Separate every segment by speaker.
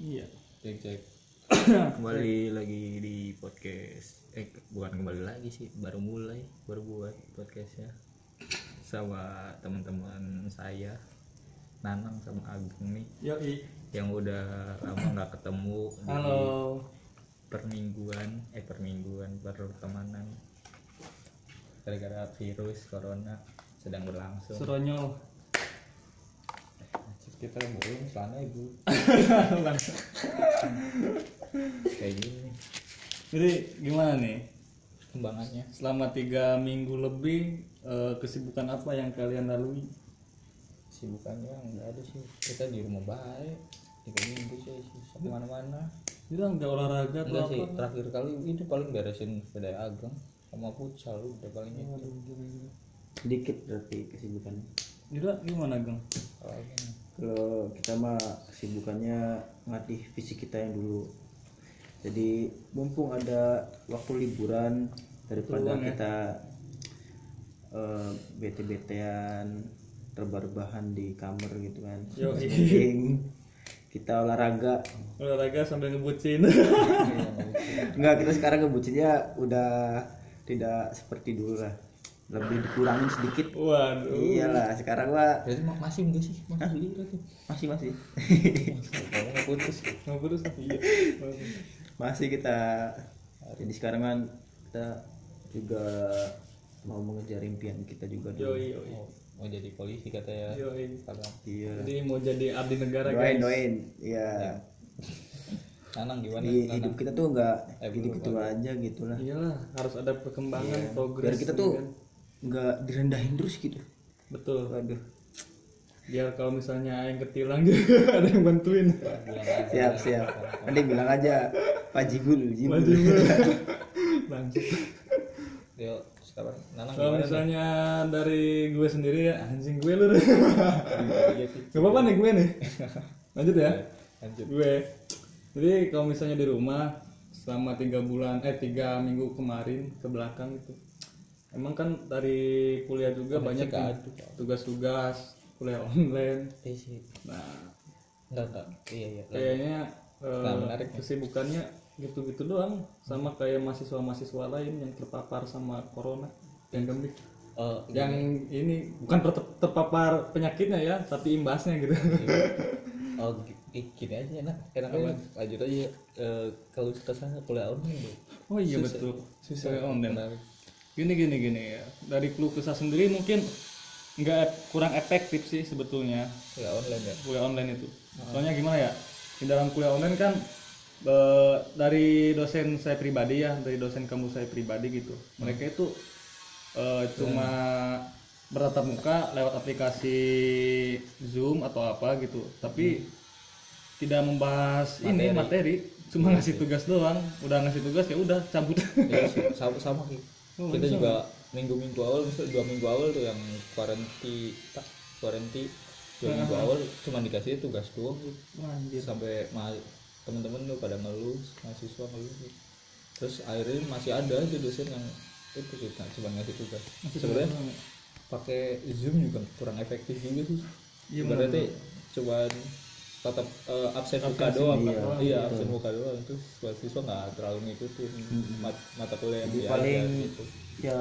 Speaker 1: Iya.
Speaker 2: cek cek kembali lagi di podcast eh bukan kembali lagi sih baru mulai baru buat podcastnya sama teman-teman saya Nanang sama Agung nih
Speaker 1: Yoi.
Speaker 2: yang udah lama nggak ketemu
Speaker 1: Halo.
Speaker 2: di permingguan eh permingguan pertemanan gara-gara virus corona sedang berlangsung
Speaker 1: Seronyol.
Speaker 2: kita boleh celana ibu kayak gini
Speaker 1: Jadi gimana nih?
Speaker 2: kembangannya
Speaker 1: Selama tiga minggu lebih eh, kesibukan apa yang kalian lalui?
Speaker 2: sibukannya nggak ada sih kita di rumah baik tiga minggu sih susah kemana-mana
Speaker 1: Kita nggak olahraga atau
Speaker 2: enggak sih
Speaker 1: apa?
Speaker 2: terakhir kali itu paling beresin sepeda ageng sama futsal udah paling itu
Speaker 1: Aduh, gila-gila.
Speaker 3: sedikit berarti kesibukannya
Speaker 1: Dira, gimana Gang?
Speaker 2: kalau ini
Speaker 3: kalau kita mah kesibukannya ngelatih fisik kita yang dulu jadi mumpung ada waktu liburan daripada
Speaker 1: Peluang ya.
Speaker 3: kita eh, bete-betean rebahan di kamar gitu kan
Speaker 1: Yoi.
Speaker 3: Mending kita olahraga
Speaker 1: Olahraga sambil ngebucin.
Speaker 3: enggak kita sekarang kebucinnya udah tidak seperti dulu lah lebih dikurangin sedikit
Speaker 1: Waduh.
Speaker 3: iyalah sekarang mah
Speaker 2: berarti ma- masih enggak sih masih beli berarti
Speaker 3: masih masih
Speaker 2: kalau nggak putus
Speaker 1: Nggak terus? Iya.
Speaker 3: masih kita jadi sekarang kan kita juga mau mengejar impian kita juga dulu
Speaker 1: Yoi, yoi.
Speaker 2: mau, Oh, mau jadi polisi kata ya
Speaker 1: Yoi.
Speaker 2: kalau
Speaker 3: iya
Speaker 1: Jadi mau jadi abdi negara
Speaker 3: doain
Speaker 1: guys. Ya,
Speaker 3: doain iya
Speaker 2: nanang gimana
Speaker 3: di
Speaker 2: nanang
Speaker 3: Iya, hidup kita tuh nggak
Speaker 2: Eh,
Speaker 3: hidup
Speaker 2: belum,
Speaker 3: itu aja gitulah
Speaker 1: Iyalah, harus ada perkembangan, progres.
Speaker 3: Iya. biar kita
Speaker 1: ya
Speaker 3: tuh
Speaker 1: kan?
Speaker 3: nggak direndahin terus gitu
Speaker 1: betul.
Speaker 3: waduh
Speaker 1: Biar kalau misalnya yang ketilang juga ada yang bantuin.
Speaker 2: bilang aja
Speaker 3: siap siap nanti bilang aja Pak Jigul Jigul
Speaker 1: Maju Bangkit.
Speaker 2: yuk sekarang nanang
Speaker 1: Kalau
Speaker 2: gimana
Speaker 1: misalnya dari gue sendiri ya anjing gue lu.
Speaker 2: Iya sih.
Speaker 1: Gak apa-apa nih gue nih. Lanjut ya.
Speaker 2: lanjut
Speaker 1: Gue. Jadi kalau misalnya di rumah selama tiga bulan eh tiga minggu kemarin ke belakang itu emang kan dari kuliah juga banyak
Speaker 2: gak
Speaker 1: nih, tugas-tugas kuliah online
Speaker 2: eh sih
Speaker 1: nah
Speaker 2: enggak enggak iya iya
Speaker 1: kayaknya
Speaker 2: Nah,
Speaker 1: eh,
Speaker 2: menarik nih.
Speaker 1: kesibukannya gitu-gitu doang sama kayak mahasiswa-mahasiswa lain yang terpapar sama corona yang gembik
Speaker 2: Eh,
Speaker 1: yang ini bukan ter- terpapar penyakitnya ya tapi imbasnya gitu
Speaker 2: Oh, gi- gini aja enak, enak aja. Lanjut aja eh, kalau ke sana kuliah online deh.
Speaker 1: oh iya betul susah online gini gini gini ya dari keluh kesah sendiri mungkin nggak kurang efektif sih sebetulnya
Speaker 2: Kuliah online ya.
Speaker 1: kuliah online itu. Soalnya gimana ya? Di dalam kuliah online kan eh, dari dosen saya pribadi ya, dari dosen kamu saya pribadi gitu. Mereka itu eh, cuma bertatap muka lewat aplikasi Zoom atau apa gitu. Tapi tidak membahas ini materi, cuma ngasih tugas doang. Udah ngasih tugas ya udah cabut.
Speaker 2: Iya sih, sama Oh, sama Ki. Kita juga minggu-minggu awal, misal dua minggu awal tuh yang kuarenti, tak kuarenti dua minggu awal cuma dikasih tugas doang gitu. sampai ma- temen-temen tuh pada ngeluh, mahasiswa ngeluh gitu. Terus akhirnya masih ada aja dosen yang itu sih, nah, cuma ngasih tugas. Sebenarnya pakai zoom juga kurang efektif juga sih
Speaker 1: Iya,
Speaker 2: berarti cuman tetap eh, absen muka doang iya,
Speaker 3: ya. Oh,
Speaker 2: iya
Speaker 3: gitu.
Speaker 2: absen muka doang itu mahasiswa nggak terlalu ngikutin mat- mata kuliah yang dia
Speaker 3: paling
Speaker 2: ajar gitu.
Speaker 3: ya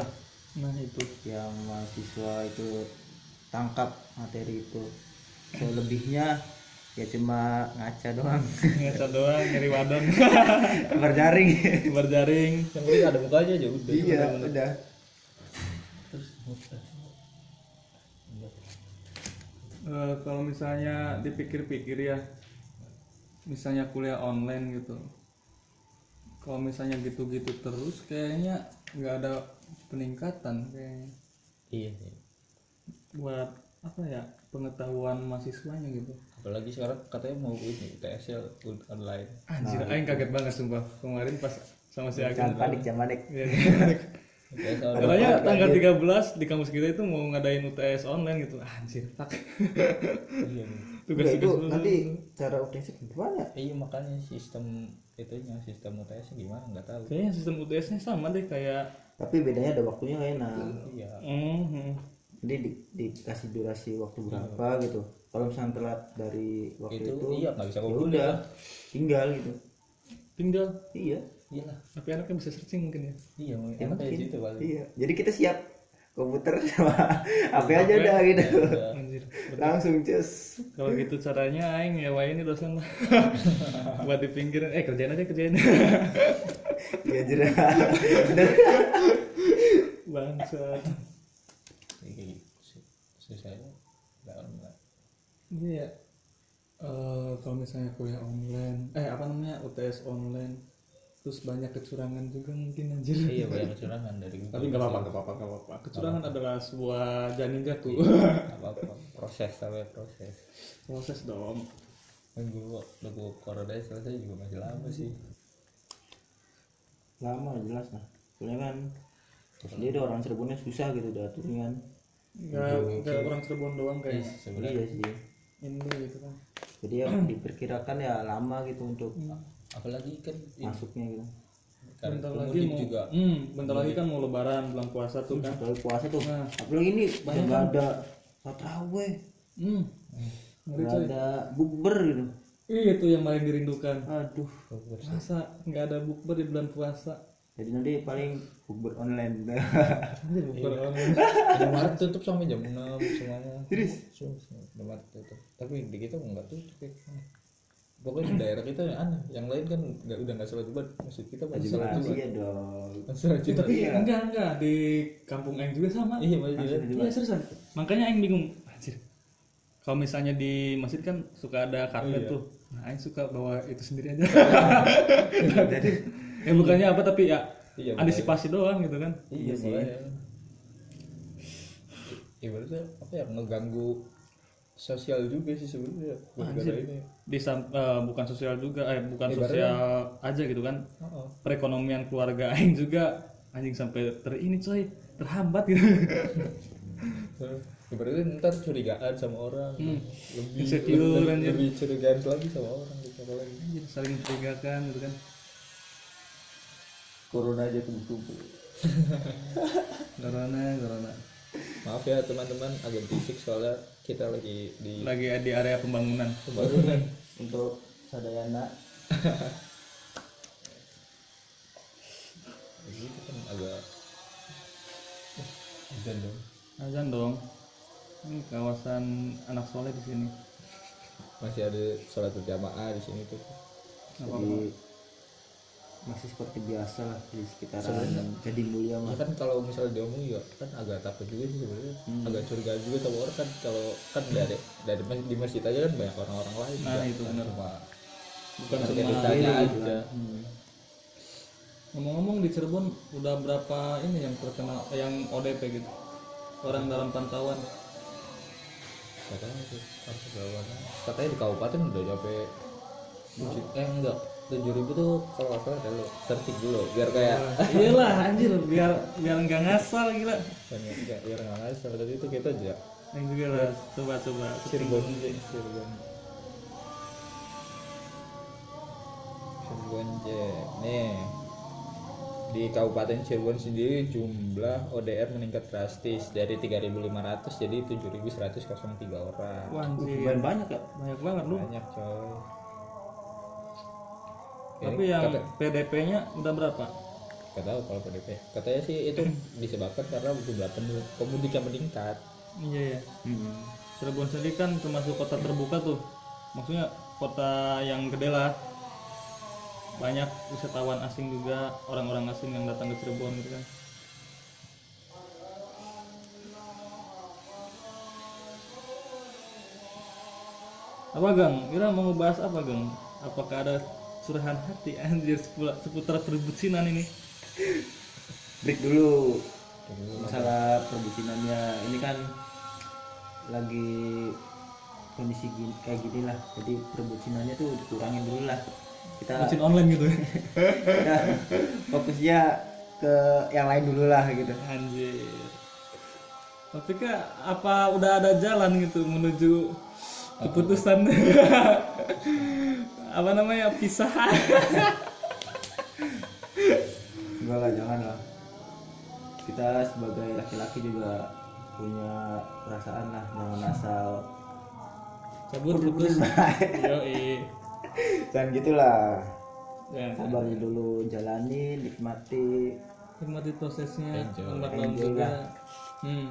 Speaker 3: 60% lah
Speaker 1: Nah itu.
Speaker 3: yang mahasiswa itu tangkap materi itu selebihnya ya cuma ngaca doang
Speaker 1: Ngaca doang, nyari wadon,
Speaker 3: berjaring
Speaker 1: berjaring.
Speaker 2: yang penting ada mukanya aja udah
Speaker 3: iya udah
Speaker 1: Eh, kalau misalnya dipikir-pikir ya misalnya kuliah online gitu kalau misalnya gitu-gitu terus kayaknya nggak ada peningkatan kayaknya
Speaker 2: iya sih.
Speaker 1: buat apa ya pengetahuan mahasiswanya gitu
Speaker 2: apalagi sekarang katanya mau ini UTS ya un- online
Speaker 1: anjir aing kaget banget sumpah kemarin pas sama si
Speaker 3: jangan
Speaker 1: Agung
Speaker 3: panik jangan panik
Speaker 1: Iya, kaget.
Speaker 2: UTS online
Speaker 1: Katanya tanggal 13 di kampus kita itu mau ngadain UTS online gitu. Anjir, fuck.
Speaker 2: iya,
Speaker 3: Udah, itu
Speaker 1: Tugas-tugas dulu.
Speaker 3: nanti cara UTS gimana
Speaker 2: iya makanya sistem itunya sistem UTS -nya gimana nggak tahu
Speaker 1: Kayaknya sistem UTS-nya sama deh kayak
Speaker 3: tapi bedanya ada waktunya kayak nah
Speaker 2: iya
Speaker 1: Mhm.
Speaker 3: jadi di- dikasih durasi waktu berapa gitu kalau misalnya telat dari waktu
Speaker 2: Itu
Speaker 3: itu,
Speaker 2: iya, nggak bisa
Speaker 3: ya
Speaker 2: ngumpulin
Speaker 3: udah
Speaker 2: lah.
Speaker 3: tinggal gitu
Speaker 1: tinggal
Speaker 3: iya
Speaker 2: iya lah
Speaker 1: tapi anaknya bisa searching mungkin ya
Speaker 2: iya
Speaker 3: ya
Speaker 2: enak
Speaker 3: mungkin.
Speaker 2: kayak gitu paling
Speaker 3: iya jadi kita siap komputer sama HP aja udah gitu
Speaker 1: anjir
Speaker 3: langsung cus
Speaker 1: kalau gitu caranya aing nyewain ini dosen lah buat di pinggiran eh kerjain aja kerjain
Speaker 3: iya jerah Bener.
Speaker 1: bangsa
Speaker 2: Jadi kayak gitu sih susahnya nggak nggak
Speaker 1: iya Eh, kalau misalnya kuliah online eh apa namanya UTS online terus banyak kecurangan juga mungkin anjir
Speaker 2: iya banyak kecurangan dari Google.
Speaker 1: tapi nggak apa-apa nggak apa-apa nggak apa-apa kecurangan adalah sebuah janin jatuh
Speaker 2: Nggak apa-apa proses sampai proses Kan
Speaker 1: proses dong
Speaker 2: nunggu nunggu corona selesai juga masih lama sih
Speaker 3: lama jelas lah soalnya kan terus dia udah orang Cirebonnya susah gitu udah aturnya kan
Speaker 1: nggak nggak orang Cirebon doang kayak
Speaker 2: sebenarnya
Speaker 3: iya sih
Speaker 1: Indo gitu kan
Speaker 3: jadi ya diperkirakan ya lama gitu untuk
Speaker 2: apalagi kan ini
Speaker 3: masuknya gitu
Speaker 2: karena
Speaker 1: Ah, bentar lagi
Speaker 2: pemudik
Speaker 1: mau
Speaker 2: juga
Speaker 1: hmm, bentar lagi kan mau lebaran bulan puasa tuh kan
Speaker 3: kalau puasa tuh
Speaker 1: Nah.
Speaker 3: apalagi ini banyak nggak ada nggak taraweh
Speaker 1: hmm. Ngeri,
Speaker 3: nggak
Speaker 1: coy.
Speaker 3: ada bukber gitu
Speaker 1: Ih, itu yang paling dirindukan
Speaker 3: aduh
Speaker 1: Iya, masa nggak ada bukber di bulan puasa
Speaker 3: jadi nanti paling bukber online
Speaker 1: Anjir, bukber online.
Speaker 2: Indomaret tutup sampai Iya, kan? jam 6 semuanya
Speaker 3: terus
Speaker 2: Terus, Indomaret tutup tapi di kita nggak tutup ya. pokoknya di daerah kita yang aneh yang lain kan nggak udah nggak sholat jumat masjid kita masih
Speaker 3: masih
Speaker 2: sholat jumat
Speaker 3: ya dong
Speaker 2: Masih sholat jumat
Speaker 1: tapi enggak enggak di kampung Aing juga sama
Speaker 2: iya masih sholat
Speaker 1: iya seriusan makanya Aing bingung anjir kalau misalnya di masjid kan suka ada karpet tuh nah Aing suka bawa itu sendiri aja ya bukannya apa tapi ya
Speaker 2: Iya,
Speaker 1: antisipasi doang gitu kan
Speaker 2: iya sih ibaratnya apa ya ngeganggu sosial juga sih sebenarnya gara-gara ini
Speaker 1: di sam- eh, bukan sosial juga eh bukan sosial aja gitu kan
Speaker 2: Oh, oh.
Speaker 1: perekonomian keluarga aing juga anjing sampai ter ini coy terhambat gitu
Speaker 2: Terus, ibaratnya Ya ntar curigaan sama orang lebih lebih,
Speaker 1: Insecure, anjir.
Speaker 2: lebih curigaan lagi sama orang gitu apalagi
Speaker 1: anjir saling mencurigakan gitu kan
Speaker 3: corona aja kumpul-kumpul
Speaker 1: corona corona
Speaker 2: maaf ya teman-teman agak berisik soalnya kita lagi di
Speaker 1: lagi di area pembangunan
Speaker 2: pembangunan
Speaker 3: untuk sadayana
Speaker 2: jadi itu kan agak hujan dong
Speaker 1: azan dong ini kawasan anak soleh di sini
Speaker 2: masih ada sholat berjamaah di sini tuh
Speaker 1: apa apa
Speaker 3: jadi masih seperti biasa lah di sekitaran jadi
Speaker 2: ya
Speaker 3: mulia mah
Speaker 2: kan kalau misalnya diomong ya kan agak takut juga sih sebenarnya
Speaker 1: Hmm.
Speaker 2: agak curiga juga sama orang kan kalau kan dari dari mas- di masjid aja kan banyak orang-orang lain
Speaker 1: Nah, itu
Speaker 2: kan
Speaker 1: benar.
Speaker 2: cuma
Speaker 1: bukan Iya.
Speaker 2: bukan
Speaker 1: cuma
Speaker 2: ditanya aja
Speaker 3: Hmm.
Speaker 1: ngomong-ngomong di Cirebon udah berapa ini yang terkenal eh, yang ODP gitu orang dalam pantauan
Speaker 2: Gak tahu sih, harus berapa Katanya di kabupaten udah nyampe tujuh- Eh enggak, 7000 tuh kalau nggak salah ada lo Searching dulu, biar kayak
Speaker 1: iyalah Ah, anjir biar biar nggak ngasal gila
Speaker 2: Biar nggak- Biar nggak ngasal, tadi itu kita aja
Speaker 1: yang juga lah coba coba
Speaker 2: Cirebon aja, Cirebon Cirebon aja, nih di Kabupaten Cirebon sendiri jumlah ODR meningkat drastis dari 3.500 jadi 7.103 orang.
Speaker 1: Wah, anjir
Speaker 3: lumayan banyak ya
Speaker 1: banyak banget lu
Speaker 2: Banyak coy.
Speaker 1: tapi yang PDP-nya udah berapa
Speaker 2: Gak tahu kalau PDP. Katanya sih itu disebabkan karena jumlah penduduk pemudik yang meningkat.
Speaker 1: iya ya
Speaker 3: Hmm.
Speaker 1: Cirebon sendiri kan termasuk kota terbuka tuh maksudnya kota yang gede lah banyak wisatawan asing juga orang-orang asing yang datang ke Cirebon gitu kan apa gang kira mau bahas apa gang apakah ada curahan hati anjir sepula- seputar perbucinan ini
Speaker 3: break dulu masalah perbucinannya ini kan lagi kondisi gini, kayak gini lah jadi perbucinannya tuh dikurangin dulu lah kita
Speaker 1: bucin online gitu ya
Speaker 3: kita fokusnya ke yang lain dulu lah gitu
Speaker 1: Anjir. Tapi kak, apa udah ada jalan gitu menuju keputusan apa namanya pisahan?
Speaker 3: enggak lah jangan lah kita sebagai laki-laki juga punya perasaan lah jangan asal
Speaker 1: cabut putus yo
Speaker 3: dan gitulah
Speaker 1: dan
Speaker 3: sabarnya dulu jalani nikmati
Speaker 1: nikmati prosesnya
Speaker 2: Enjoy.
Speaker 1: lambat laun
Speaker 3: Enjoy
Speaker 1: juga
Speaker 3: lah.
Speaker 1: hmm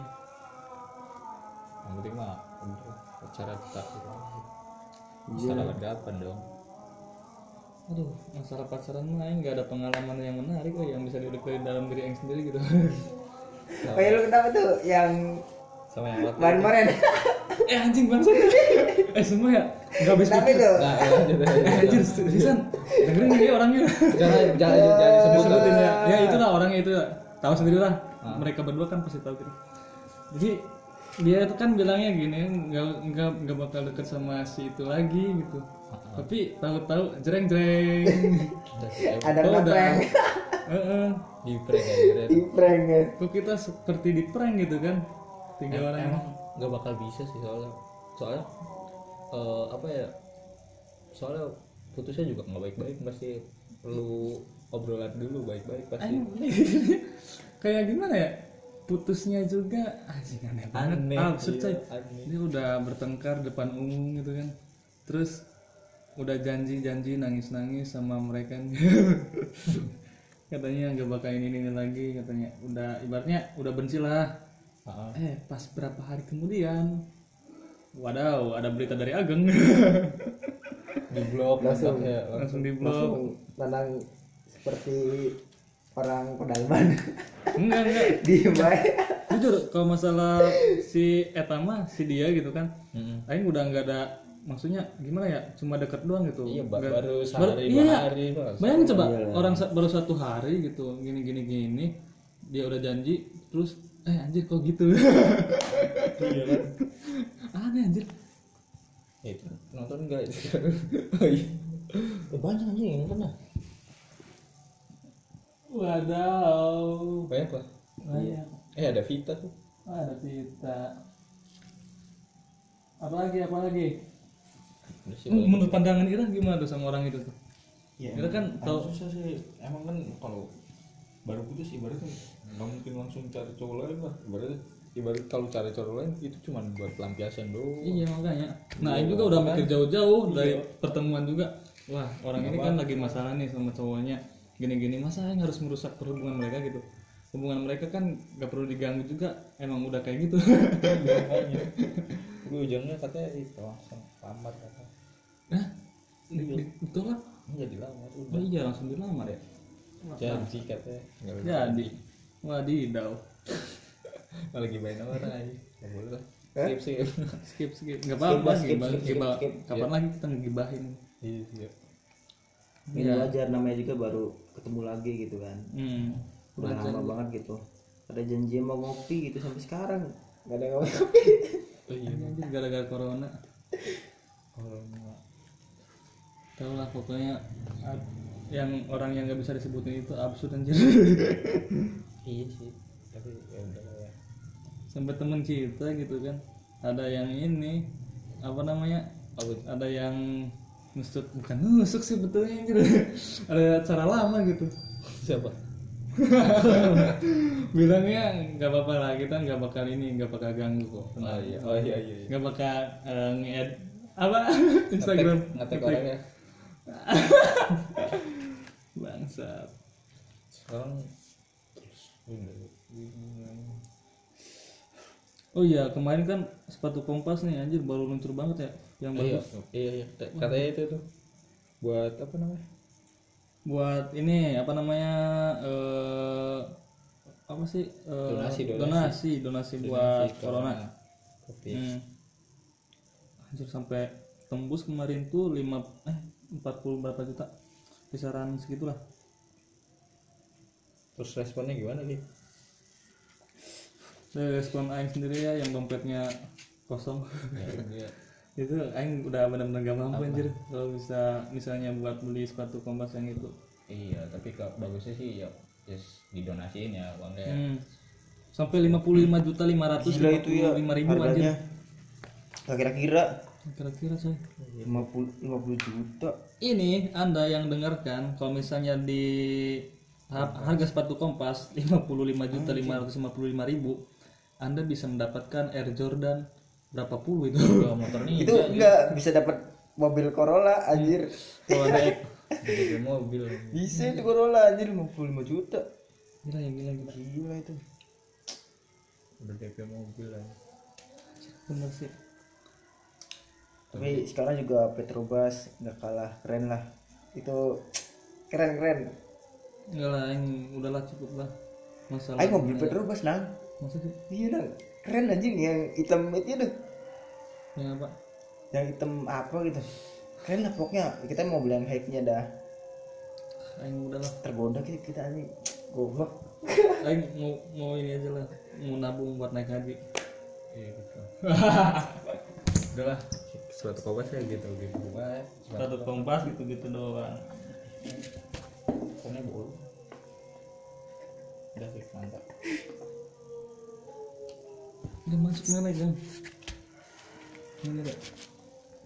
Speaker 2: yang penting mah udah, pacaran tetap gitu.
Speaker 3: Iya.
Speaker 2: Salah berdapan dong
Speaker 1: aduh masalah pacaran mah aing nggak ada pengalaman yang menarik weh, yang bisa diulik dari dalam diri aing sendiri gitu
Speaker 3: kayak lu kenapa tuh yang
Speaker 2: sama yang waktu
Speaker 3: kemarin-kemarin
Speaker 1: eh anjing bangsa eh semua ya nggak habis
Speaker 3: tapi tuh Iya.
Speaker 2: nah ya, lanjut,
Speaker 1: Eh,
Speaker 2: lanjut.
Speaker 1: anjir seriusan dengerin dia orangnya
Speaker 2: jangan jangan jangan, jangan sebut lah.
Speaker 1: sebutin ya ya itulah orangnya itu tahu sendiri lah
Speaker 2: Ah.
Speaker 1: mereka berdua kan pasti tahu gitu jadi dia itu kan bilangnya gini nggak nggak nggak bakal deket sama si itu lagi gitu
Speaker 2: Ah.
Speaker 1: tapi tahu-tahu jreng jreng Oh,
Speaker 3: ada kena
Speaker 1: udah.
Speaker 3: prank
Speaker 1: Heeh.
Speaker 2: di prank aja Ren.
Speaker 3: di prank ya
Speaker 1: kok kita seperti di prank gitu kan tiga orang
Speaker 2: emang nggak bakal bisa sih soalnya soalnya eh, apa ya soalnya putusnya juga nggak baik-baik pasti perlu obrolan dulu baik-baik pasti
Speaker 1: kayak gimana ya putusnya juga anjing aneh banget
Speaker 2: Aneh,
Speaker 1: ah, maksud
Speaker 2: iya,
Speaker 1: coy.
Speaker 2: aneh.
Speaker 1: ini udah bertengkar depan umum gitu kan terus udah janji-janji nangis-nangis sama mereka nih. katanya nggak bakal ini ini lagi katanya udah ibaratnya udah benci lah
Speaker 2: Ah,
Speaker 1: eh pas berapa hari kemudian wadaw ada berita dari Ageng
Speaker 2: di blok langsung ya
Speaker 1: langsung di blog
Speaker 3: langsung menang seperti orang pedalaman
Speaker 1: enggak enggak
Speaker 3: di
Speaker 1: jujur kalau masalah si Etama si dia gitu kan
Speaker 2: Mm-mm.
Speaker 1: Aing udah nggak ada maksudnya gimana ya cuma deket doang gitu
Speaker 2: iya ba-
Speaker 1: Nggak-
Speaker 2: baru sehari dua
Speaker 1: iya.
Speaker 2: hari langsung.
Speaker 1: bayangin coba orang sa- baru satu hari gitu gini gini gini dia udah janji terus eh anjir kok gitu
Speaker 2: Iya kan?
Speaker 1: aneh anjir
Speaker 2: Eh, itu nonton nggak oh, iya.
Speaker 3: banyak aja yang pernah
Speaker 1: wadaw
Speaker 2: banyak lah
Speaker 1: banyak
Speaker 2: eh ada Vita tuh
Speaker 1: ada kita apalagi apalagi
Speaker 2: Udah sih, kalau-
Speaker 1: menurut pandangan Ira gimana tuh sama orang itu tuh
Speaker 2: Iya.
Speaker 3: Ya,
Speaker 1: Ira kan tau
Speaker 2: susah sih emang kan kalau baru putus ibaratnya nggak mungkin langsung cari cowok lain lah ibarat ibarat kalau cari cowok lain itu cuma buat pelampiasan doang
Speaker 1: Iya makanya. Nah, ini juga udah mikir jauh-jauh dari pertemuan juga. Wah, orang ini kan lagi masalah nih sama cowoknya. Gini-gini masa yang harus merusak perhubungan mereka gitu. Hubungan mereka kan gak perlu diganggu juga. Emang udah kayak gitu.
Speaker 2: makanya gue ujungnya katanya itu langsung lamar kata
Speaker 1: Nah, betul lah.
Speaker 2: nggak dilamar udah
Speaker 1: Oh iya langsung dilamar ya.
Speaker 2: janji katanya nggak boleh
Speaker 1: Jadi, wadidaw.
Speaker 2: Malah gibain orang aja nggak boleh lah skip skip
Speaker 1: Skip skip. Gak apa-apa.
Speaker 3: skip,
Speaker 1: gibah-
Speaker 3: skip, skip,
Speaker 1: gibah.
Speaker 3: skip.
Speaker 1: Kapan lagi kita ngegibahin?
Speaker 2: iya skip
Speaker 3: ini wajar namanya juga baru ketemu lagi gitu kan
Speaker 1: Hmm.
Speaker 3: udah lama banget gitu ada janji mau ngopi gitu sampai sekarang nggak ada yang ngopi
Speaker 2: oh iya
Speaker 1: Ini aja gara-gara corona. Tahu lah pokoknya ab- yang orang yang nggak bisa disebutin itu absurd anjir.
Speaker 2: iya sih tapi ya udah lah ya
Speaker 1: Sampai temen kita gitu kan. Ada yang ini apa namanya? Oh,
Speaker 2: Apa tuh?
Speaker 1: Ada yang nusuk bukan nusuk sih betulnya anjir. ada cara lama gitu.
Speaker 2: siapa
Speaker 1: Bilangnya nggak apa-apa lah kita nggak bakal ini nggak bakal ganggu kok.
Speaker 2: oh iya oh iya iya iya.
Speaker 1: Nggak bakal eh, nge-add apa Instagram
Speaker 2: ngetek ya. orangnya
Speaker 1: bangsat.
Speaker 2: sekarang
Speaker 1: Oh iya, kemarin kan sepatu kompas nih anjir baru luncur banget ya yang
Speaker 2: iya
Speaker 1: bagus.
Speaker 2: iya iya. katanya itu tuh buat apa namanya
Speaker 1: Buat ini apa namanya eh apa sih? eh,
Speaker 2: Donasi, donasi.
Speaker 1: donasi, donasi buat
Speaker 2: Donasi iya.
Speaker 1: corona.
Speaker 2: tapi
Speaker 1: Hmm. Anjir sampai tembus kemarin tuh 5 eh 40 berapa juta? Kisaran segitulah.
Speaker 2: terus responnya gimana nih
Speaker 1: Saya respon aing sendiri ya yang dompetnya kosong.
Speaker 2: Iya.
Speaker 1: itu aing udah benar-benar gak mampu anjir kalau bisa misalnya buat beli sepatu kompas yang itu.
Speaker 2: iya tapi kalau bagusnya sih ya yes, didonasiin ya uangnya
Speaker 1: Hmm. Sampai 55 juta 500
Speaker 3: Gila itu ya
Speaker 1: ribu
Speaker 3: harganya.
Speaker 1: anjir.
Speaker 3: Gak kira-kira
Speaker 1: Kira-kira coy.
Speaker 3: Iya. 50 50 juta.
Speaker 1: Ini Anda yang dengarkan kalau misalnya di ha- harga sepatu kompas 55 juta 555 ribu Anda bisa mendapatkan Air Jordan berapa puluh itu
Speaker 2: Kalau motornya
Speaker 3: itu enggak bisa dapat mobil Corolla anjir
Speaker 2: kalau ada ek jadi mobil
Speaker 3: bisa itu Corolla anjir 55 juta
Speaker 1: gila ya gila gila
Speaker 3: gila itu
Speaker 2: udah DP mobil lah
Speaker 1: bener sih
Speaker 3: tapi sekarang juga Petrobras nggak kalah keren lah itu keren keren
Speaker 1: enggak lah yang udahlah cukup lah masalah
Speaker 3: ayo mobil Petrobras nang
Speaker 1: maksudnya
Speaker 3: iya nang keren anjing yang hitam itu deh
Speaker 1: yang apa
Speaker 3: yang hitam apa gitu keren lah pokoknya kita mau beli yang hype-nya dah
Speaker 1: aing udahlah
Speaker 3: tergoda kita, kita anjing goblok
Speaker 1: aing mau mau ini aja lah mau nabung buat naik haji
Speaker 2: Iya, gitu. udahlah suatu kopas kayak gitu gitu Wah,
Speaker 1: satu kompas gitu gitu doang
Speaker 2: pokoknya bolu udah sih mantap
Speaker 1: udah masuk mana jam ini deh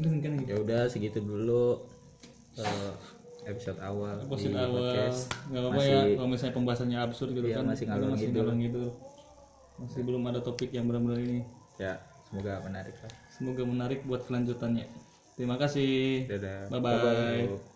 Speaker 1: udah mungkin lagi
Speaker 2: ya udah segitu dulu eh, episode awal di
Speaker 1: Posin awal
Speaker 2: podcast.
Speaker 1: nggak apa ya kalau misalnya pembahasannya absurd gitu
Speaker 2: Iya,
Speaker 1: kan
Speaker 2: masih
Speaker 1: Ini
Speaker 2: ngalor
Speaker 1: masih
Speaker 2: ngidul.
Speaker 1: ngalor ngidul. masih belum ada topik yang benar-benar ini
Speaker 2: ya semoga menarik lah
Speaker 1: semoga menarik buat kelanjutannya terima kasih
Speaker 2: dadah
Speaker 1: bye bye